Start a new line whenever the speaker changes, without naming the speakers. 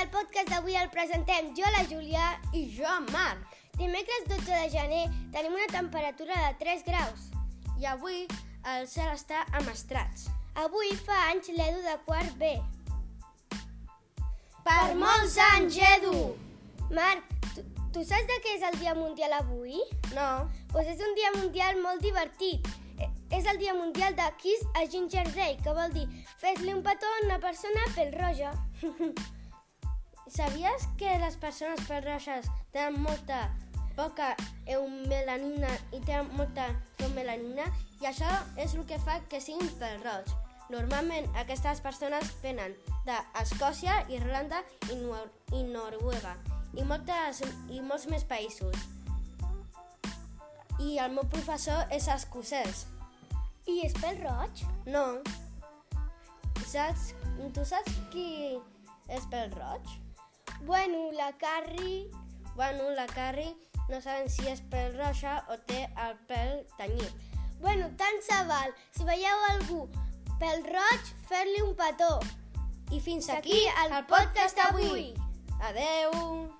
el podcast d'avui el presentem jo, la Júlia,
I jo, en Marc.
Dimecres 12 de gener tenim una temperatura de 3 graus.
I avui el cel està amb estrats.
Avui fa anys l'Edu de quart B.
Per molts anys, Edu!
Marc, tu, tu saps de què és el Dia Mundial avui?
No,
Doncs és un dia mundial molt divertit. Eh, És el Dia Mundial de Kiss a Ginger Day, que vol dir fes-li un petó a una persona pel roja.
sabies que les persones pelroixes tenen molta poca eumelanina i tenen molta fomelanina? I això és el que fa que siguin pelroig. Normalment aquestes persones venen d'Escòcia, Irlanda i, Nor i Noruega i, moltes, i molts més països. I el meu professor és escocès.
I és pel roig?
No. Saps, tu saps qui és pel roig?
Bueno, la Carrie...
Bueno, la Carrie no saben si és pel roja o té el pèl tenyit.
Bueno, tant se val. Si veieu algú pel roig, fer-li un petó.
I fins
Fins aquí el podcast d'avui.
Adeu!